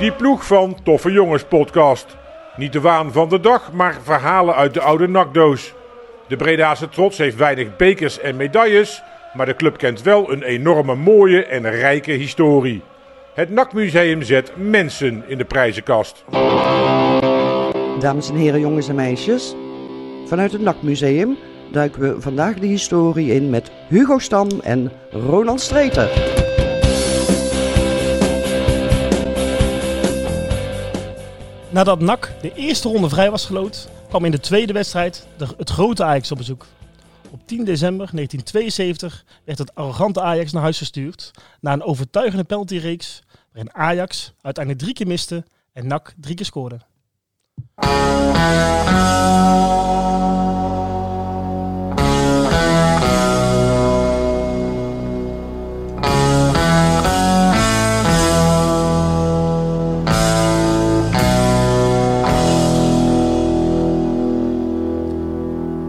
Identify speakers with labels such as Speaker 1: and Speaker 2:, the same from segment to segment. Speaker 1: Die ploeg van Toffe Jongens podcast. Niet de waan van de dag, maar verhalen uit de oude nakdoos. De Bredaanse trots heeft weinig bekers en medailles, maar de club kent wel een enorme mooie en rijke historie. Het NAC-museum zet mensen in de prijzenkast.
Speaker 2: Dames en heren, jongens en meisjes. Vanuit het NAC-museum duiken we vandaag de historie in met Hugo Stam en Roland Streeter.
Speaker 3: Nadat NAC de eerste ronde vrij was gelood, kwam in de tweede wedstrijd de, het grote Ajax op bezoek. Op 10 december 1972 werd het arrogante Ajax naar huis gestuurd na een overtuigende penaltyreeks waarin Ajax uiteindelijk drie keer miste en NAC drie keer scoorde.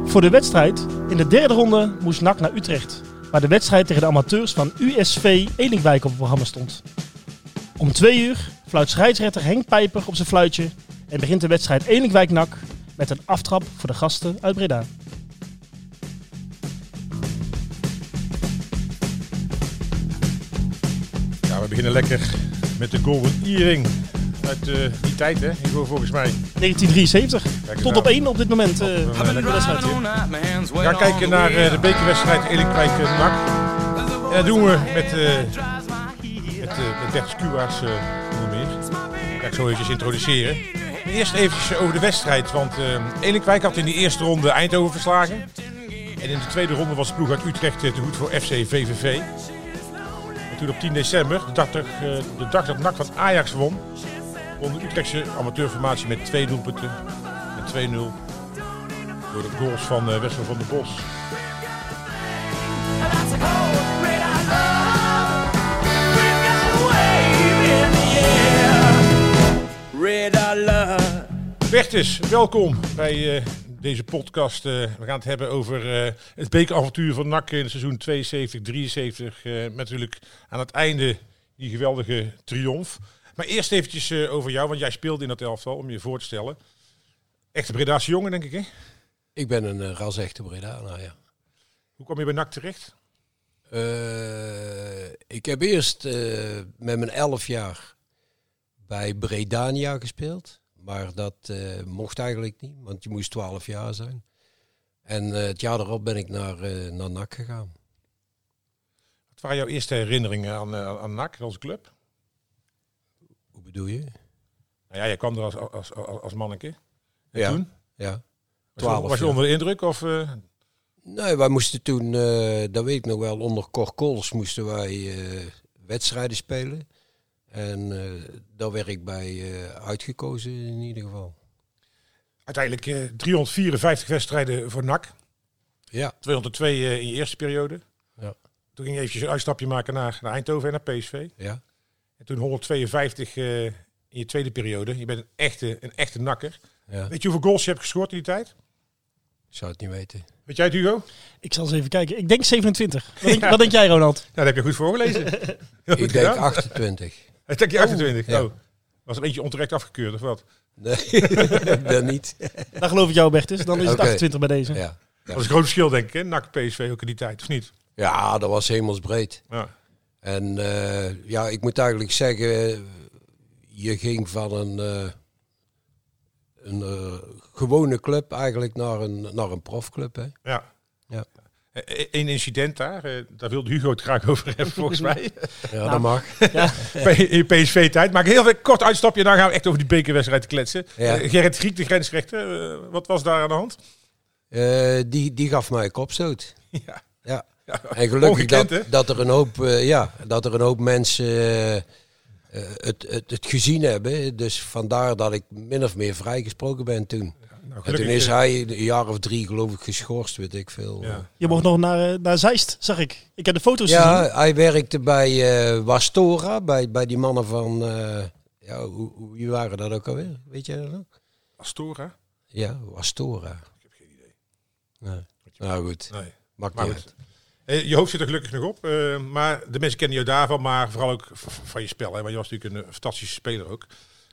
Speaker 3: Voor de wedstrijd in de derde ronde moest NAC naar Utrecht, waar de wedstrijd tegen de amateurs van USV Elinkwijk op het programma stond. Om twee uur fluit scheidsrechter Henk Pijper op zijn fluitje en begint de wedstrijd Elinkwijk-NAC met een aftrap voor de gasten uit Breda.
Speaker 1: Ja, we beginnen lekker met de Golden Earring. Uit eh, die tijd, hè? Ik hoor volgens mij.
Speaker 3: 1973,
Speaker 1: Kijk
Speaker 3: tot
Speaker 1: nou.
Speaker 3: op één op dit moment. eh,
Speaker 1: Op, eh,
Speaker 3: de wedstrijd.
Speaker 1: We gaan kijken naar eh, de bekerwedstrijd Elinkwijk-Nak. En dat doen we met, eh met, eh met Bert Skuwa's eh, onder meer. Ik ga ik zo eventjes introduceren. Maar Eerst eventjes over de wedstrijd, want eh Elinkwijk had in de eerste ronde Eindhoven verslagen. En in de tweede ronde was de ploeg uit Utrecht eh, te goed voor FC VVV. En toen op 10 december, de dag, dat, eh, de dag dat NAC van Ajax won, won de Utrechtse amateurformatie met twee doelpunten. Met 2-0 door de goals van eh Wessel van der Bos.
Speaker 4: Red alert.
Speaker 1: Bertus, welkom bij eh, deze podcast. Eh, we gaan het hebben over eh, het bekeravontuur van NAC in het seizoen 72, 73. eh, met natuurlijk aan het einde die geweldige triomf. Maar eerst eventjes eh, over jou, want jij speelde in dat elftal, om je voor te stellen. Echte Bredaanse jongen, denk ik, hè?
Speaker 5: Ik ben een eh, ras-echte Breda, nou ja.
Speaker 1: Hoe kwam je bij NAC terecht?
Speaker 5: Eh, ik heb eerst eh, met mijn elf jaar bij Bredania gespeeld. Maar dat eh, mocht eigenlijk niet, want je moest 12 jaar zijn. En eh, het jaar daarop ben ik naar, eh, naar NAC gegaan.
Speaker 1: Wat waren jouw eerste herinneringen aan, eh, aan NAC, als club?
Speaker 5: Hoe bedoel je?
Speaker 1: Nou ja, jij kwam er als, als, als, als manneke. En
Speaker 5: ja.
Speaker 1: toen?
Speaker 5: Ja.
Speaker 1: Was je,
Speaker 5: 12
Speaker 1: was je
Speaker 5: jaar.
Speaker 1: onder de indruk? Of, eh,
Speaker 5: Nee, wij moesten toen, eh, dat weet ik nog wel, onder Cor Kools moesten wij eh, wedstrijden spelen. En eh, daar werd ik bij eh, uitgekozen in ieder geval.
Speaker 1: uiteindelijk eh, 354 wedstrijden voor NAC.
Speaker 5: Ja.
Speaker 1: 202 eh, in je eerste periode.
Speaker 5: Ja.
Speaker 1: Toen ging je eventjes een uitstapje maken naar, naar Eindhoven en naar PSV.
Speaker 5: Ja,
Speaker 1: En toen 152 eh, in je tweede periode. Je bent een echte, een echte nakker.
Speaker 5: ja.
Speaker 1: Weet je hoeveel goals je hebt gescoord in die tijd?
Speaker 5: Ik zou het niet weten.
Speaker 1: Weet jij het, Hugo? Nou,
Speaker 3: Ik zal eens even kijken. Ik denk 27. Wat denk, wat denk jij, Ronald?
Speaker 1: dat heb je goed voorgelezen. Heel goed
Speaker 5: ik denk
Speaker 1: gedaan.
Speaker 5: 28.
Speaker 1: Ik denk je 28.
Speaker 5: ja.
Speaker 1: Oh. Was er eentje onterecht afgekeurd of wat?
Speaker 5: Nee, dat niet.
Speaker 3: Dan geloof ik jou, Bertus. Dan is het
Speaker 5: Oké.
Speaker 3: 28 bij deze.
Speaker 5: Ja.
Speaker 1: Dat was een groot verschil, denk ik. Hè? NAC, PSV ook in die tijd, of niet?
Speaker 5: ja, dat was hemelsbreed.
Speaker 1: Ja.
Speaker 5: En eh, ja, ik moet eigenlijk zeggen, eh, je ging van een, eh, een eh, gewone club eigenlijk naar een, naar een profclub. Hè?
Speaker 1: ja.
Speaker 5: Ja.
Speaker 1: Eén incident daar, eh, daar wilde Hugo het graag over hebben, volgens mij.
Speaker 5: Ja, dat mag.
Speaker 1: P- in PSV-tijd. Maar heel even kort uitstapje, dan gaan we echt over die bekerwedstrijd kletsen.
Speaker 5: Ja.
Speaker 1: Eh, Gerrit Griek, de grensrechter, eh, wat was daar aan de hand?
Speaker 5: Eh, die, die gaf mij een kopstoot.
Speaker 1: Ja.
Speaker 5: Ja.
Speaker 1: Ja,
Speaker 5: En gelukkig
Speaker 1: ongekend,
Speaker 5: dat,
Speaker 1: hè?
Speaker 5: dat, er een hoop, eh, ja, dat er een hoop mensen eh, eh, het, het, het gezien hebben. Dus vandaar dat ik min of meer vrijgesproken ben toen.
Speaker 1: Nou,
Speaker 5: En toen
Speaker 1: gelukkig,
Speaker 5: is
Speaker 1: eh,
Speaker 5: hij een jaar of drie geloof ik geschorst, weet ik veel.
Speaker 1: Ja.
Speaker 3: Je mocht nog naar, eh, naar Zeist, zag ik. Ik heb de foto's gezien.
Speaker 5: Ja, hij werkte bij eh Wastora, bij, bij die mannen van... eh, ja, hoe, hoe wie waren dat ook alweer? Weet jij dat ook?
Speaker 1: Astora?
Speaker 5: Ja, Wastora. Ik heb geen idee. Nou goed,
Speaker 1: Nee.
Speaker 5: maakt
Speaker 1: Maar
Speaker 5: niet
Speaker 1: goed.
Speaker 5: uit.
Speaker 1: Eh, Je hoofd zit er gelukkig nog op. eh, maar de mensen kennen jou daarvan, maar vooral ook v- v- van je spel. Hè, want je was natuurlijk een eh, fantastische speler ook.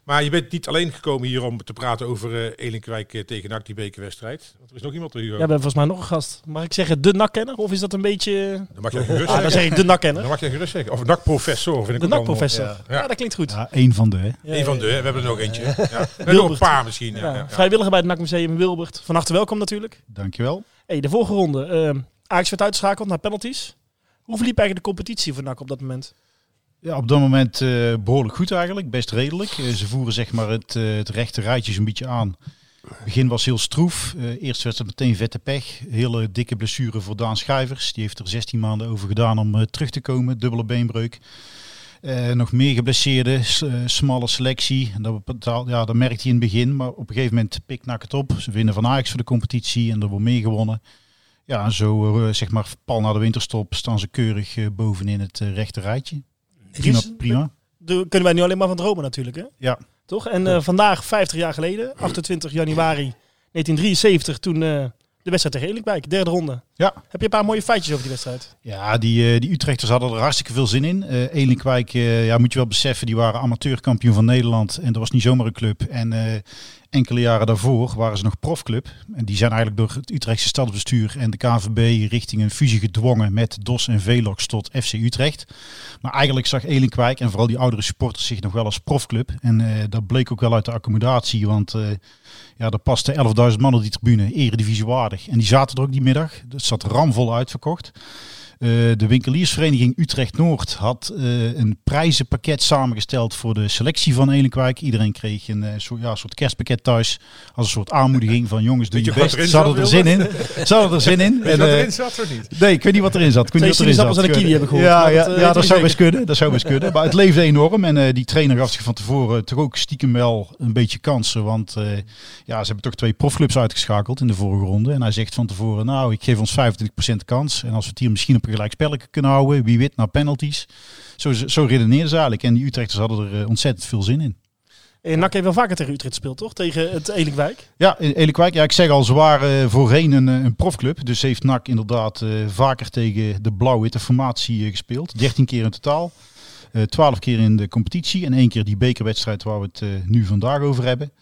Speaker 1: Maar je bent niet alleen gekomen hier om te praten over eh Elinkwijk eh, tegen NAC, die bekerwedstrijd. Want er is nog iemand eh, hier.
Speaker 3: we hebben volgens mij nog een gast. Mag ik zeggen de nakkenner? Of is dat een beetje...
Speaker 1: Dan mag je gerust
Speaker 3: Ah, dan
Speaker 1: zeggen.
Speaker 3: zeg ik de nakkenner.
Speaker 1: Dan mag je gerust zeggen. Of NAC-professor, vind ik
Speaker 3: De
Speaker 1: ook allemaal.
Speaker 3: nakprofessor.
Speaker 6: Ja.
Speaker 3: Ja. dat klinkt goed.
Speaker 6: Ja, één van de. hè.
Speaker 3: Ja,
Speaker 1: Een van
Speaker 3: ja,
Speaker 1: de, hè, we hebben er nog eentje. Ja. Er zijn nog een
Speaker 3: Wilbert.
Speaker 1: paar misschien. Ja,
Speaker 3: ja.
Speaker 1: ja, ja.
Speaker 3: Vrijwilliger bij het NAC Museum in Wilbert. Van harte welkom natuurlijk.
Speaker 6: Dankjewel.
Speaker 3: Hey, de vorige ronde. ehm Ajax werd uitgeschakeld naar penalties. Hoe verliep eigenlijk de competitie voor NAC op dat moment?
Speaker 6: Ja, op dat moment eh, behoorlijk goed eigenlijk, best redelijk. Eh, ze voeren zeg maar het, eh, het rechte rijtje zo'n beetje aan. Het begin was heel stroef. Eh, eerst werd het meteen vette pech. Hele dikke blessure voor Daan Schijvers. Die heeft er 16 maanden over gedaan om eh, terug te komen. Dubbele beenbreuk. Eh, nog meer geblesseerden, s- eh, smalle selectie. En Dat, betaal, ja, dat merkte hij in het begin, maar op een gegeven moment pikt NAC het op. Ze winnen van Ajax voor de competitie en er wordt meer gewonnen. Ja, en zo eh, zeg maar pal na de winterstop staan ze keurig eh, bovenin het eh, rechte rijtje. Prima,
Speaker 3: Dries,
Speaker 6: prima.
Speaker 3: Daar Dus kunnen wij nu alleen maar van dromen natuurlijk, hè?
Speaker 6: Ja.
Speaker 3: Toch? En eh, vandaag, 50 jaar geleden, 28 januari 1973, toen eh, de wedstrijd tegen Elinkwijk, derde ronde.
Speaker 6: Ja.
Speaker 3: Heb je een paar mooie feitjes over die wedstrijd?
Speaker 6: Ja, die, eh, die Utrechters hadden er hartstikke veel zin in. Eh Elinkwijk, eh, ja, moet je wel beseffen, die waren amateurkampioen van Nederland. En dat was niet zomaar een club. En eh, enkele jaren daarvoor waren ze nog profclub. En die zijn eigenlijk door het Utrechtse stadsbestuur en de KVB richting een fusie gedwongen met DOS en Velox tot FC Utrecht. Maar eigenlijk zag Elinkwijk en vooral die oudere supporters zich nog wel als profclub. En eh, dat bleek ook wel uit de accommodatie, want... eh, ja, er paste 11.000 man op die tribune, eredivisie waardig. En die zaten er ook die middag. Het zat ramvol uitverkocht. Eh, de winkeliersvereniging Utrecht Noord had eh, een prijzenpakket samengesteld voor de selectie van Elenkwijk. Iedereen kreeg een eh, soort, ja, soort kerstpakket thuis als een soort aanmoediging van jongens doe
Speaker 1: Weet
Speaker 6: je
Speaker 1: je wat
Speaker 6: best.
Speaker 1: erin
Speaker 6: Ze hadden er
Speaker 1: zat,
Speaker 6: zin in. Ze hadden er zin in.
Speaker 1: Weet je
Speaker 6: En,
Speaker 1: wat
Speaker 6: eh,
Speaker 1: erin zat of niet?
Speaker 6: Nee, ik weet niet wat erin zat. Ik weet
Speaker 3: Twee
Speaker 6: niet wat erin zat.
Speaker 3: sinaasappels en een kiwi heb ik gehoord,
Speaker 6: Ja,
Speaker 3: maar
Speaker 6: ja,
Speaker 3: dat, eh,
Speaker 6: ja
Speaker 3: weet
Speaker 6: dat
Speaker 3: ik
Speaker 6: zou
Speaker 3: niet
Speaker 6: best kunnen. Dat zou best kunnen. Maar het leefde enorm. En eh, die trainer gaf zich van tevoren toch ook stiekem wel een beetje kansen. Want eh, ja, ze hebben toch twee profclubs uitgeschakeld in de vorige ronde. En hij zegt van tevoren, nou, ik geef ons 25% kans. En als we het hier misschien op een gelijk spelletje kunnen houden, wie wint naar penalties. Zo, zo redeneerden ze eigenlijk. En die Utrechters hadden er eh, ontzettend veel zin in.
Speaker 3: En NAC Eh, heeft wel vaker tegen Utrecht gespeeld, toch? Tegen het Elinkwijk.
Speaker 6: Ja, Elenkwijk. Ja, ik zeg al, ze waren eh, voorheen een, eh, een profclub. Dus heeft NAC inderdaad eh, vaker tegen de blauw-witte formatie eh, gespeeld. 13 keer in totaal. Eh 12 keer in de competitie en één keer die bekerwedstrijd waar we het eh, nu vandaag over hebben.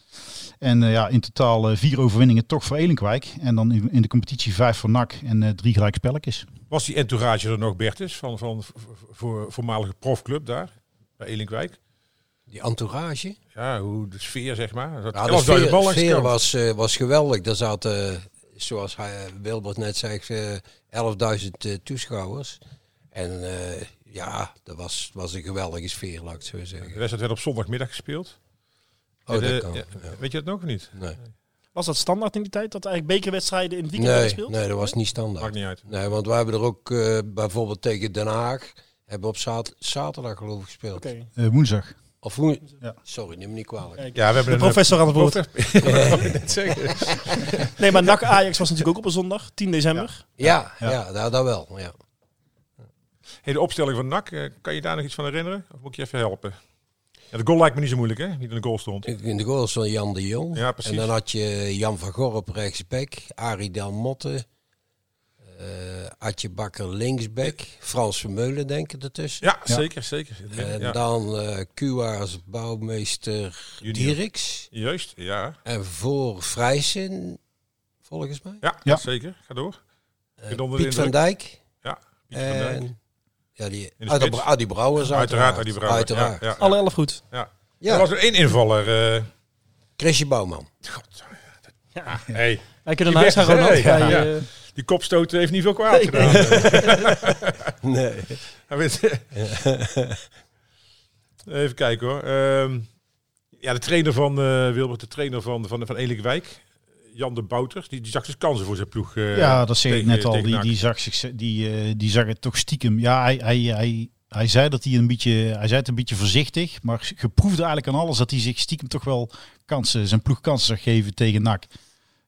Speaker 6: En eh, ja, in totaal eh, vier overwinningen toch voor Elenkwijk. En dan in, in de competitie vijf voor NAC en eh, drie gelijk spelletjes.
Speaker 1: Was die entourage er nog, Bertus, van, van v- voor, voormalige profclub daar, bij Elinkwijk?
Speaker 5: Die entourage.
Speaker 1: Ja, hoe de sfeer, zeg maar. Dat
Speaker 5: Ja, de
Speaker 1: was
Speaker 5: sfeer,
Speaker 1: de bal langs de
Speaker 5: sfeer
Speaker 1: kant.
Speaker 5: was, eh, was geweldig. Daar zaten, eh, zoals hij, eh, Wilbert net zei, eh, 11.000 eh, toeschouwers. En eh, ja, dat was, was een geweldige sfeer, laat ik het zo
Speaker 1: De
Speaker 5: zeggen.
Speaker 1: wedstrijd werd op zondagmiddag gespeeld.
Speaker 5: Oh,
Speaker 1: En,
Speaker 5: dat
Speaker 1: eh,
Speaker 5: kan.
Speaker 1: ja,
Speaker 5: ja.
Speaker 1: Weet je dat nog of niet?
Speaker 5: Nee.
Speaker 3: Was dat standaard in die tijd, dat eigenlijk bekerwedstrijden in het weekend werden
Speaker 5: Nee,
Speaker 3: gespeeld?
Speaker 5: nee, dat was niet standaard.
Speaker 1: Maakt niet uit.
Speaker 5: Nee, want we hebben er ook eh, bijvoorbeeld tegen Den Haag hebben we op zaat- zaterdag geloof ik gespeeld.
Speaker 3: Oké.
Speaker 6: Eh, woensdag.
Speaker 5: Of hoe?
Speaker 6: Ja.
Speaker 5: Sorry, neem me niet kwalijk.
Speaker 3: Ja,
Speaker 1: Ja, we hebben eh,
Speaker 3: De professor aan het woord.
Speaker 1: zeggen.
Speaker 3: Nee, maar NAC Ajax was natuurlijk ook op een zondag, 10 december.
Speaker 5: Ja, ja,
Speaker 6: Ja.
Speaker 5: daar, daar wel. Ja.
Speaker 1: Hey, de opstelling van NAC, eh, kan je daar nog iets van herinneren? Of moet ik je even helpen? Ja, de goal lijkt me niet zo moeilijk, hè? Niet in de goal stond.
Speaker 5: In de goal stond Jan de Jong.
Speaker 1: Ja, precies.
Speaker 5: En dan had je Jan van Gorp rechtsback, Arie Del Motte, eh Adje Bakker linksback, Frans Vermeulen denk ik ertussen.
Speaker 1: Ja,
Speaker 6: Ja.
Speaker 1: zeker, zeker.
Speaker 5: En
Speaker 1: Ja.
Speaker 5: dan eh Cuba als bouwmeester
Speaker 1: Junior.
Speaker 5: Dieriks.
Speaker 1: Juist, ja.
Speaker 5: En voor Vrijzin, volgens mij,
Speaker 1: Ja,
Speaker 6: Ja.
Speaker 1: zeker. Ga door.
Speaker 5: eh,
Speaker 1: Ik ben onder de
Speaker 5: Piet van
Speaker 1: indruk.
Speaker 5: Dijk.
Speaker 1: Piet van Dijk.
Speaker 5: En- ja, die,
Speaker 1: In de
Speaker 5: ah, de
Speaker 1: spits.
Speaker 5: Bra- ah, die Brouwers
Speaker 1: Uiteraard, Adi Brouwer.
Speaker 5: Uiteraard.
Speaker 1: Ja, ja, ja.
Speaker 3: Alle elf goed.
Speaker 5: Ja,
Speaker 1: Er was er één invaller. eh.
Speaker 5: Chrisje Bouwman.
Speaker 3: Ja.
Speaker 1: hey,
Speaker 3: Wij kunnen
Speaker 1: Die
Speaker 3: naar huis gaan,
Speaker 1: weg, hè?
Speaker 3: Ronald.
Speaker 1: Ja,
Speaker 3: Wij,
Speaker 1: ja.
Speaker 3: eh,
Speaker 1: die kopstoot heeft niet veel kwaad gedaan.
Speaker 5: Nee.
Speaker 1: Hij weet- Even kijken hoor. Ehm, ja, de trainer van eh, Wilbert, de trainer van, van, van Elinkwijk, Jan de Bouter, die, die zag dus kansen voor zijn ploeg. eh,
Speaker 6: Ja, dat zei ik
Speaker 1: tegen-
Speaker 6: net al.
Speaker 1: tegen
Speaker 6: Die,
Speaker 1: NAC.
Speaker 6: die, zag zich, die, eh, die zag het toch stiekem. Ja, hij, hij, hij, hij zei dat hij een beetje, hij zei het een beetje voorzichtig, maar geproefde eigenlijk aan alles dat hij zich stiekem toch wel kansen, zijn ploeg kansen zag geven tegen NAC.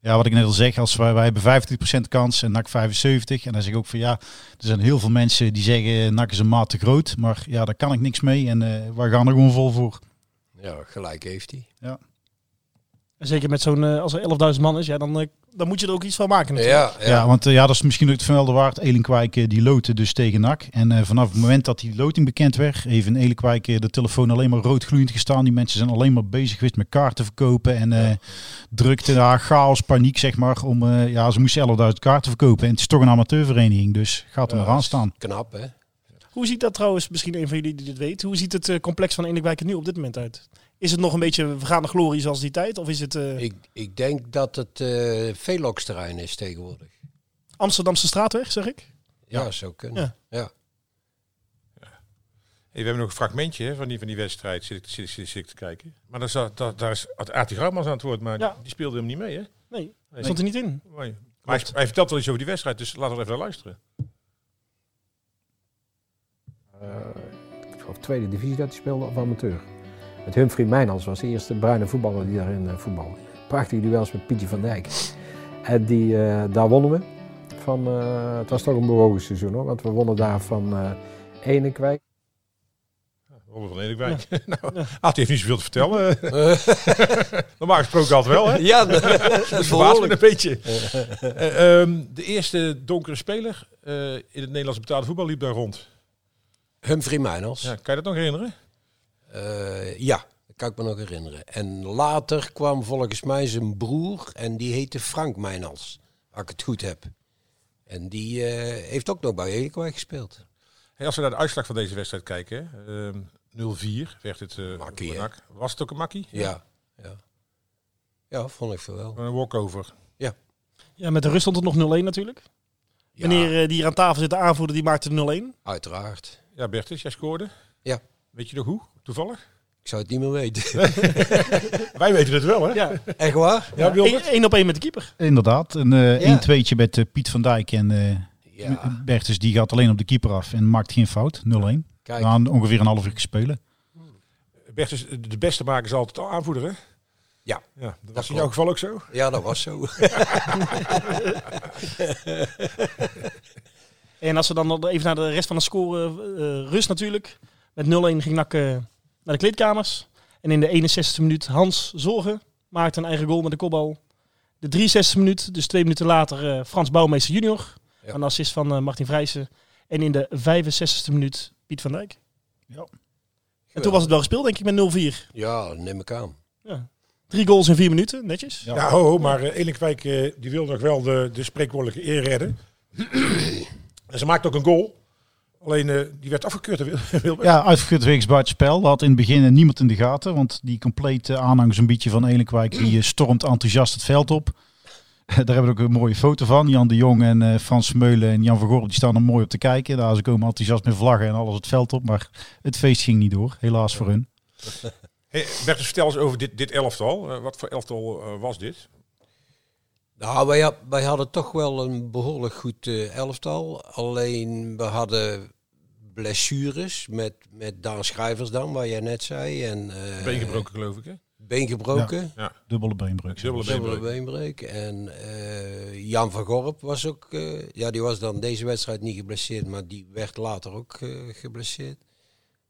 Speaker 6: Ja, wat ik net al zeg, als wij, wij hebben 50% kans en NAC 75%. En dan zeg ik ook van ja, er zijn heel veel mensen die zeggen eh, NAC is een maat te groot. Maar ja, daar kan ik niks mee en eh wij gaan er gewoon vol voor.
Speaker 5: Ja, gelijk heeft hij.
Speaker 3: en En zeker met zo'n, eh, als er 11.000 man is, ja, dan, eh, dan moet je er ook iets van maken. natuurlijk.
Speaker 5: Ja,
Speaker 6: Ja, want eh, ja, dat is misschien ook het van wel de waard. Elinkwijk eh, die loten dus tegen NAC. En eh, vanaf het moment dat die loting bekend werd, heeft in Elinkwijk eh, de telefoon alleen maar roodgloeiend gestaan. Die mensen zijn alleen maar bezig geweest met kaarten verkopen en eh, drukte daar chaos, paniek zeg maar. Om, eh, ja, ze moesten 11.000 kaarten verkopen en het is toch een amateurvereniging, dus gaat er maar aan staan.
Speaker 5: Knap, hè?
Speaker 3: Hoe ziet dat trouwens, misschien een van jullie die dit weet, hoe ziet het eh, complex van Enikwijk er nu op dit moment uit? Is het nog een beetje vergaande glorie zoals die tijd? Of is het eh,
Speaker 5: Ik, ik denk dat het eh Velox-terrein is tegenwoordig.
Speaker 3: Amsterdamse straatweg, zeg ik?
Speaker 5: Ja, zou kunnen.
Speaker 3: Ja.
Speaker 5: Ja.
Speaker 1: Hey, we hebben nog een fragmentje hè, van, die, van die wedstrijd, zit ik, zit, zit, zit ik te kijken. Maar daar, zat, daar, daar is Ati Graumans aan het woord, maar
Speaker 3: Ja.
Speaker 1: die speelde hem niet mee, hè?
Speaker 3: Nee, stond er niet in.
Speaker 1: Mooi. Maar hij, hij vertelt wel iets over die wedstrijd, dus laten we even naar luisteren.
Speaker 7: ik geloof tweede divisie dat hij speelde, of amateur. Met Humphrey Mijnans was de eerste bruine voetballer die daarin eh, voetbalde. Prachtige duels met Pietje van Dijk. En die, eh, daar wonnen we. Van, eh, het was toch een bewogen seizoen hoor, want we wonnen daar van eh Enekwijk.
Speaker 1: Robert van Edekwijk. nou, Ati heeft niet zoveel te vertellen. Normaal gesproken altijd wel, hè?
Speaker 5: ja, dat
Speaker 1: Dat
Speaker 5: is
Speaker 1: verbaast me een
Speaker 5: behoorlijk.
Speaker 1: beetje. Eh, ehm, de eerste donkere speler eh, in het Nederlands betaalde voetbal liep daar rond.
Speaker 5: Humphrey Mijnals.
Speaker 1: Ja, kan je dat nog herinneren?
Speaker 5: Eh, ja, dat kan ik me nog herinneren. En later kwam volgens mij zijn broer en die heette Frank Mijnals, als ik het goed heb. En die eh, heeft ook nog bij Elinkwijk gespeeld.
Speaker 1: Hey, als we naar de uitslag van deze wedstrijd kijken, hè, ehm, 0-4 werd het eh,
Speaker 5: Makkie,
Speaker 1: voor
Speaker 5: hè?
Speaker 1: NAC. Was het ook een makkie?
Speaker 5: Ja, ja. Ja, vond ik veel wel.
Speaker 1: Een walkover.
Speaker 3: Ja, met de rust stond het nog 0-1 natuurlijk.
Speaker 5: Ja,
Speaker 3: Wanneer eh, die hier aan tafel zit te aanvoerder, die maakte 0-1.
Speaker 5: Uiteraard.
Speaker 1: Ja, Bertus, jij scoorde.
Speaker 5: Ja.
Speaker 1: Weet je nog hoe? Toevallig?
Speaker 5: Ik zou het niet meer weten.
Speaker 1: Wij weten het wel, hè?
Speaker 3: Ja,
Speaker 5: Echt waar?
Speaker 1: Ja, Wilbert?
Speaker 3: 1 op 1 met de keeper.
Speaker 6: Inderdaad, een eh
Speaker 5: Ja.
Speaker 6: 1-2'tje met eh, Piet van Dijk en eh
Speaker 5: Ja,
Speaker 6: Bertus. Die gaat alleen op de keeper af en maakt geen fout, 0-1.
Speaker 5: kijk.
Speaker 6: Na een- ongeveer een half uur spelen.
Speaker 1: Bertus, de beste maken is altijd aanvoerder, hè?
Speaker 5: Ja.
Speaker 1: ja dat was in
Speaker 5: klopt.
Speaker 1: jouw geval ook zo?
Speaker 5: Ja, dat was zo.
Speaker 3: En als we dan nog even naar de rest van de score, eh, eh, rust natuurlijk. Met 0-1 ging NAC eh, naar de kleedkamers. En in de 61e minuut Hans Zorgen maakte een eigen goal met de kopbal. De 63e minuut, dus twee minuten later, eh, Frans Bouwmeester junior.
Speaker 5: Ja.
Speaker 3: Een assist van eh, Martin Vrijsen. En in de 65e minuut Piet van Dijk. En toen was het wel gespeeld denk ik met 0-4.
Speaker 5: Ja, dat neem ik aan.
Speaker 3: Ja. Drie goals in vier minuten, netjes.
Speaker 6: Ja.
Speaker 1: Ja, ho, ho, maar eh, Elinkwijk eh, die wil nog wel de, de spreekwoordelijke eer redden. en ze maakt ook een goal. Alleen eh, die werd afgekeurd. door Wil- Wilbert.
Speaker 6: Ja, uitgekeurd wegens buitenspel. Dat had in het begin eh, niemand in de gaten. Want die complete aanhang zo'n beetje van Elenkwijk, die eh, stormt enthousiast het veld op. Daar hebben we ook een mooie foto van. Jan de Jong en eh, Frans Meulen en Jan van Gorp, die staan er mooi op te kijken. Daar ze komen enthousiast met vlaggen en alles het veld op. Maar het feest ging niet door, helaas voor hun.
Speaker 1: Hey, Bertus, vertel eens over dit, dit elftal. Eh, wat voor elftal eh, was dit?
Speaker 5: Nou, wij, had- wij hadden toch wel een behoorlijk goed eh, elftal. Alleen we hadden blessures met, met Daan Schrijvers dan, waar jij net zei. En, eh,
Speaker 1: Been gebroken, geloof ik. Hè?
Speaker 5: Been gebroken.
Speaker 6: Dubbele beenbreuk.
Speaker 1: Dubbele
Speaker 5: Dubbele
Speaker 1: beenbreuk.
Speaker 5: beenbreuk. En eh, Jan van Gorp was ook... eh, ja, die was dan deze wedstrijd niet geblesseerd, maar die werd later ook eh, geblesseerd.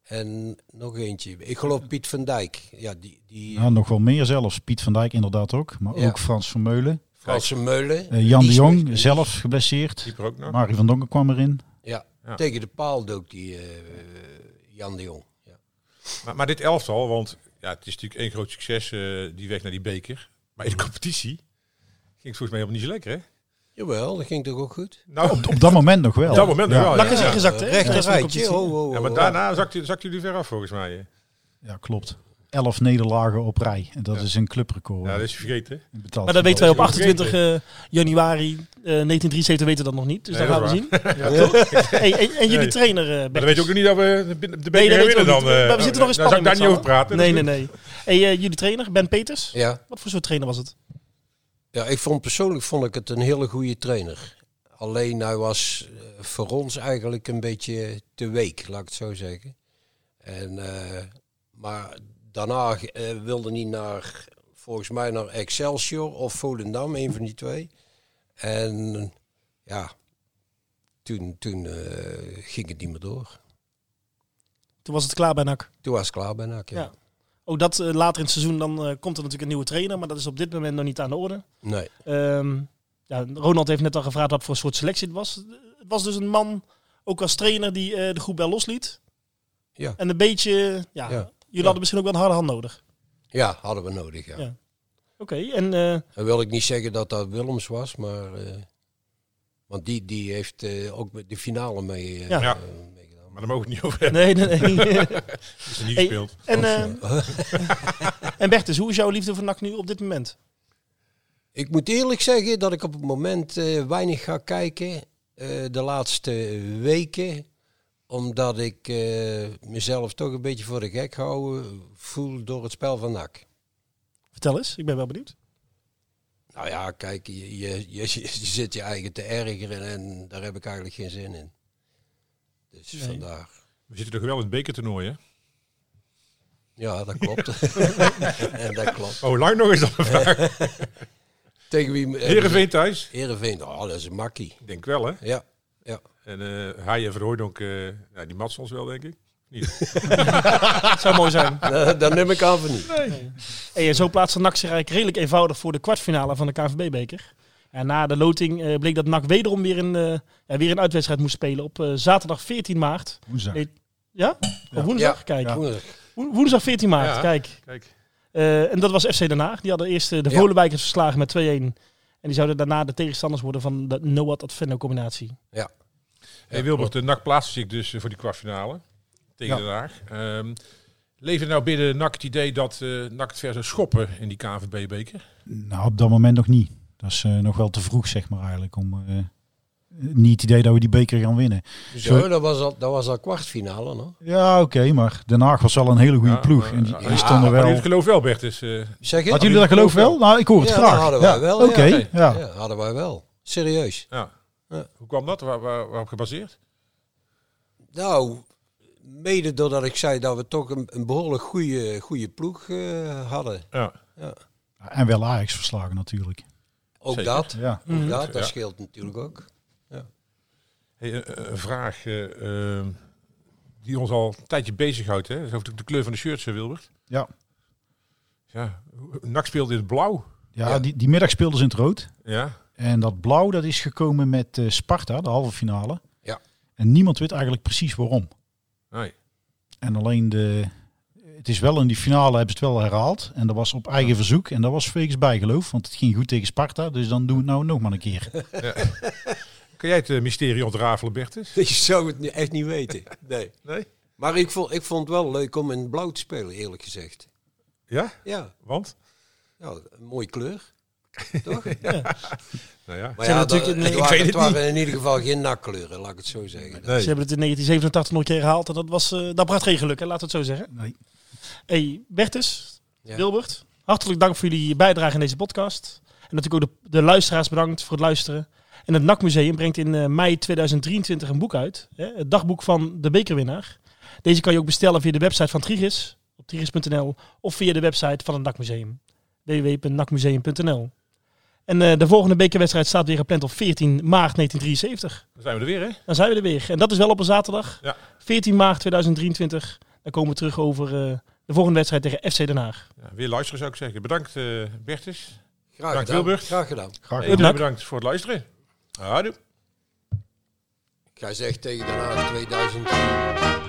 Speaker 5: En nog eentje. Ik geloof Piet van Dijk. Ja, die... die
Speaker 6: Ja, nog wel meer zelfs. Piet van Dijk inderdaad ook. Maar
Speaker 5: Ja.
Speaker 6: ook Frans van Meulen.
Speaker 5: Franse Meulen.
Speaker 6: Eh, Jan
Speaker 5: Die
Speaker 6: de
Speaker 5: is
Speaker 6: Jong
Speaker 5: nog-
Speaker 6: zelf geblesseerd.
Speaker 1: Dieper ook nog.
Speaker 6: Marie van Donker kwam erin.
Speaker 5: Ja,
Speaker 1: Ja.
Speaker 5: tegen de paal dook die eh, Jan de Jong. Ja.
Speaker 1: Maar, maar dit elftal, want ja, het is natuurlijk één groot succes, eh, die weg naar die beker. Maar in de competitie ging het volgens mij helemaal niet zo lekker, hè?
Speaker 5: Jawel, dat ging toch ook goed?
Speaker 1: Nou, op,
Speaker 6: Op dat moment nog wel.
Speaker 1: dat moment nog
Speaker 6: Ja,
Speaker 1: wel,
Speaker 3: Nak is
Speaker 1: ja.
Speaker 3: ingezakt, hè?
Speaker 5: Rechter
Speaker 3: Ja,
Speaker 5: rijtje.
Speaker 3: competitie.
Speaker 5: Oh, oh, oh,
Speaker 1: Ja, maar
Speaker 5: oh.
Speaker 1: daarna zakte, zakte jullie ver af, volgens mij. Hè?
Speaker 6: Ja, klopt. Elf nederlagen op rij. En dat is een clubrecord. eh,
Speaker 1: Ja, dus- dat is je vergeten.
Speaker 6: In betaald
Speaker 3: Maar dat weten wij
Speaker 6: voetbal.
Speaker 1: wel.
Speaker 3: op 28 eh, januari eh, 1973 weten we dat nog niet. Dus
Speaker 1: Nee,
Speaker 3: dat gaan we
Speaker 1: dat is
Speaker 3: zien. Hey, en, en jullie
Speaker 1: Nee.
Speaker 3: trainer, eh
Speaker 1: Maar dan weet je ook nog niet dat we de- de beker
Speaker 3: Nee, dat
Speaker 1: gaan
Speaker 3: weten
Speaker 1: winnen
Speaker 3: we
Speaker 1: dan.
Speaker 3: ook niet.
Speaker 1: eh,
Speaker 3: Maar we zitten nog in
Speaker 1: dan zou
Speaker 3: spanning
Speaker 1: ik daar niet over
Speaker 3: met z'n allen.
Speaker 1: praten.
Speaker 3: Nee, nee, nee. Hey, eh, jullie trainer, Ben Peters.
Speaker 5: Ja.
Speaker 3: Wat voor soort trainer was het?
Speaker 5: Ja, ik vond persoonlijk vond ik het een hele goede trainer. Alleen hij was eh, voor ons eigenlijk een beetje te week, laat ik het zo zeggen. En, eh, maar daarna eh, wilde hij naar, volgens mij naar Excelsior of Volendam, een van die twee. En ja, toen, toen eh, ging het niet meer door.
Speaker 3: Toen was het klaar bij NAC.
Speaker 5: Toen was het klaar bij NAC, ja.
Speaker 3: Ja. Ook dat eh, later in het seizoen, dan eh, komt er natuurlijk een nieuwe trainer. Maar dat is op dit moment nog niet aan de orde.
Speaker 5: Nee.
Speaker 3: Ehm, ja, Ronald heeft net al gevraagd wat voor soort selectie het was. Het was dus een man, ook als trainer, die eh, de groep wel losliet.
Speaker 5: Ja.
Speaker 3: En een beetje, ja,
Speaker 5: Ja.
Speaker 3: jullie hadden misschien ook wel een harde hand nodig.
Speaker 5: Ja, hadden we nodig. Ja.
Speaker 3: Ja. Oké, en eh,
Speaker 5: Dan wil ik niet zeggen dat dat Willems was, maar. eh, want die, die heeft eh, ook met de finale mee, eh,
Speaker 3: Ja.
Speaker 1: Ja.
Speaker 5: eh, meegedaan.
Speaker 1: Maar daar mogen we het niet over hebben.
Speaker 3: nee, nee,
Speaker 5: Oh,
Speaker 3: nee.
Speaker 1: Als er niet
Speaker 3: Hey.
Speaker 1: speelt.
Speaker 3: en, eh, en Bertus, hoe is jouw liefde voor NAC nu op dit moment?
Speaker 5: Ik moet eerlijk zeggen dat ik op het moment eh, weinig ga kijken eh, de laatste weken. Omdat ik eh, mezelf toch een beetje voor de gek houden voel door het spel van NAC.
Speaker 3: Vertel eens, ik ben wel benieuwd.
Speaker 5: Nou ja, kijk, je, je, je, je zit je eigen te ergeren en daar heb ik eigenlijk geen zin in. Dus
Speaker 3: Nee.
Speaker 5: vandaar.
Speaker 1: We zitten toch wel in het bekertoernooi, hè?
Speaker 5: Ja, dat klopt. en dat klopt.
Speaker 1: Oh, lang nog eens dan een vraag.
Speaker 5: Tegen wie?
Speaker 1: Heerenveen thuis?
Speaker 5: Heerenveen. Oh, dat is een makkie.
Speaker 1: Ik denk wel, hè?
Speaker 5: Ja.
Speaker 1: En eh Haaien en Verhooydonk, eh nou, die matsen ons wel, denk ik.
Speaker 3: Het zou mooi zijn.
Speaker 5: Eh, dat neem ik aan van niet.
Speaker 3: Hey, en zo plaatste NAC zich eigenlijk redelijk eenvoudig voor de kwartfinale van de KNVB-beker. En na de loting eh, bleek dat NAC wederom weer een, eh, ja, weer een uitwedstrijd moest spelen op eh, zaterdag 14 maart.
Speaker 6: Woensdag.
Speaker 3: Nee. Ja? Op woensdag?
Speaker 5: Ja.
Speaker 3: Kijk.
Speaker 5: Jongens,
Speaker 3: Wo- Woensdag 14 maart,
Speaker 1: Ja.
Speaker 3: kijk.
Speaker 1: Kijk.
Speaker 3: Eh, en dat was FC Den Haag. Die hadden eerst eh, de
Speaker 5: Ja.
Speaker 3: Volenwijkers verslagen met 2-1. En die zouden daarna de tegenstanders worden van de Noat Adveno combinatie.
Speaker 1: Hey, Wilbert, de NAC plaatste zich dus eh, voor die kwartfinale tegen
Speaker 6: Ja.
Speaker 1: Den Haag. Ehm leefde nou binnen NAC het idee dat eh NAC het ver zou schoppen in die KNVB-beker?
Speaker 6: Nou, op dat moment nog niet. Dat is eh, nog wel te vroeg, zeg maar eigenlijk, om eh, niet het idee dat we die beker gaan winnen.
Speaker 5: Zo, dat was al, dat was al kwartfinale, no?
Speaker 6: Ja, oké, maar Den Haag was al een hele goede
Speaker 1: Ja,
Speaker 6: ploeg.
Speaker 1: eh,
Speaker 6: En die,
Speaker 1: ja,
Speaker 6: die
Speaker 5: ja,
Speaker 6: stonden
Speaker 1: Maar
Speaker 6: wel...
Speaker 1: jullie het geloof wel, Bert. Dus, eh,
Speaker 5: Zeg je?
Speaker 6: Hadden jullie dat geloof wel? Nou, ik hoor het
Speaker 5: Ja, dat
Speaker 6: graag.
Speaker 5: hadden
Speaker 6: ja.
Speaker 5: wij wel, ja.
Speaker 6: Oké,
Speaker 5: Nee.
Speaker 6: ja.
Speaker 5: Ja, hadden wij wel. Serieus.
Speaker 1: ja.
Speaker 5: Ja.
Speaker 1: Hoe kwam dat? Waar, waar- waarop gebaseerd?
Speaker 5: Nou, mede doordat ik zei dat we toch een, een behoorlijk goede, goede ploeg eh, hadden.
Speaker 1: Ja.
Speaker 6: En wel Ajax verslagen natuurlijk.
Speaker 5: Ook
Speaker 1: Zeker.
Speaker 5: dat.
Speaker 6: Ja.
Speaker 3: Mhm.
Speaker 5: Ook dat, dat
Speaker 1: Ja.
Speaker 5: scheelt natuurlijk ook.
Speaker 1: Hey, eh, eh, een vraag eh, eh, die ons al een tijdje bezighoudt. Hè? Dat is natuurlijk de kleur van de shirts, hè, Wilbert.
Speaker 6: Ja.
Speaker 1: ja. hoe- NAC speelde in het blauw.
Speaker 6: Ja,
Speaker 5: Ja.
Speaker 6: Die, die middag speelden ze in het rood.
Speaker 1: Ja.
Speaker 6: En dat blauw, dat is gekomen met eh, Sparta, de halve finale.
Speaker 5: Ja.
Speaker 6: En niemand weet eigenlijk precies waarom.
Speaker 1: Nee.
Speaker 6: En alleen de... Het is wel in die finale hebben ze het wel herhaald. En dat was op eigen verzoek. En dat was wegens bijgeloof. Want het ging goed tegen Sparta. Dus dan doen we het nou nog maar een keer.
Speaker 1: Kan jij het eh, mysterie ontrafelen, Bertus?
Speaker 5: Je zou het ni- echt niet weten. Nee.
Speaker 1: Nee.
Speaker 5: Maar ik vond, ik vond het wel leuk om in het blauw te spelen, eerlijk gezegd.
Speaker 1: Ja?
Speaker 5: Ja,
Speaker 1: Want?
Speaker 5: ja een mooie kleur. Toch?
Speaker 1: Nou ja.
Speaker 5: Maar
Speaker 3: Zijn
Speaker 5: ja,
Speaker 3: natuurlijk
Speaker 5: dat-
Speaker 3: een-
Speaker 5: het
Speaker 3: ik
Speaker 5: waren,
Speaker 1: weet het
Speaker 5: het waren in ieder geval geen nakkleuren, laat ik het zo zeggen.
Speaker 1: Nee.
Speaker 3: Ze hebben het in 1987 nog een keer herhaald. En dat, was, eh, dat bracht geen geluk, hè? laten we het zo zeggen.
Speaker 6: Nee.
Speaker 3: Hey, Bertus,
Speaker 5: Ja.
Speaker 3: Wilbert, hartelijk dank voor jullie bijdrage in deze podcast. En natuurlijk ook de, de luisteraars bedankt voor het luisteren. En het NAC Museum brengt in eh, mei 2023 een boek uit. Hè, het dagboek van de bekerwinnaar. Deze kan je ook bestellen via de website van Trigis, op trigis.nl, of via de website van het NAC Museum, www.nakmuseum.nl. En eh, de volgende bekerwedstrijd staat weer gepland op 14 maart 1973.
Speaker 1: Dan zijn we er weer, hè?
Speaker 3: Dan zijn we er weer. En dat is wel op een zaterdag.
Speaker 1: Ja.
Speaker 3: 14 maart 2023. Dan komen we terug over eh, de volgende wedstrijd tegen FC Den Haag.
Speaker 1: Ja, weer luisteren zou ik zeggen. Bedankt, eh Bertus.
Speaker 5: Graag
Speaker 1: Dank
Speaker 5: gedaan.
Speaker 1: Wilbert.
Speaker 5: Graag gedaan.
Speaker 6: Graag
Speaker 1: Hey,
Speaker 6: gedaan.
Speaker 1: jullie bedankt voor het luisteren. Houdoe.
Speaker 5: Ik ga zeggen tegen daarna 2000.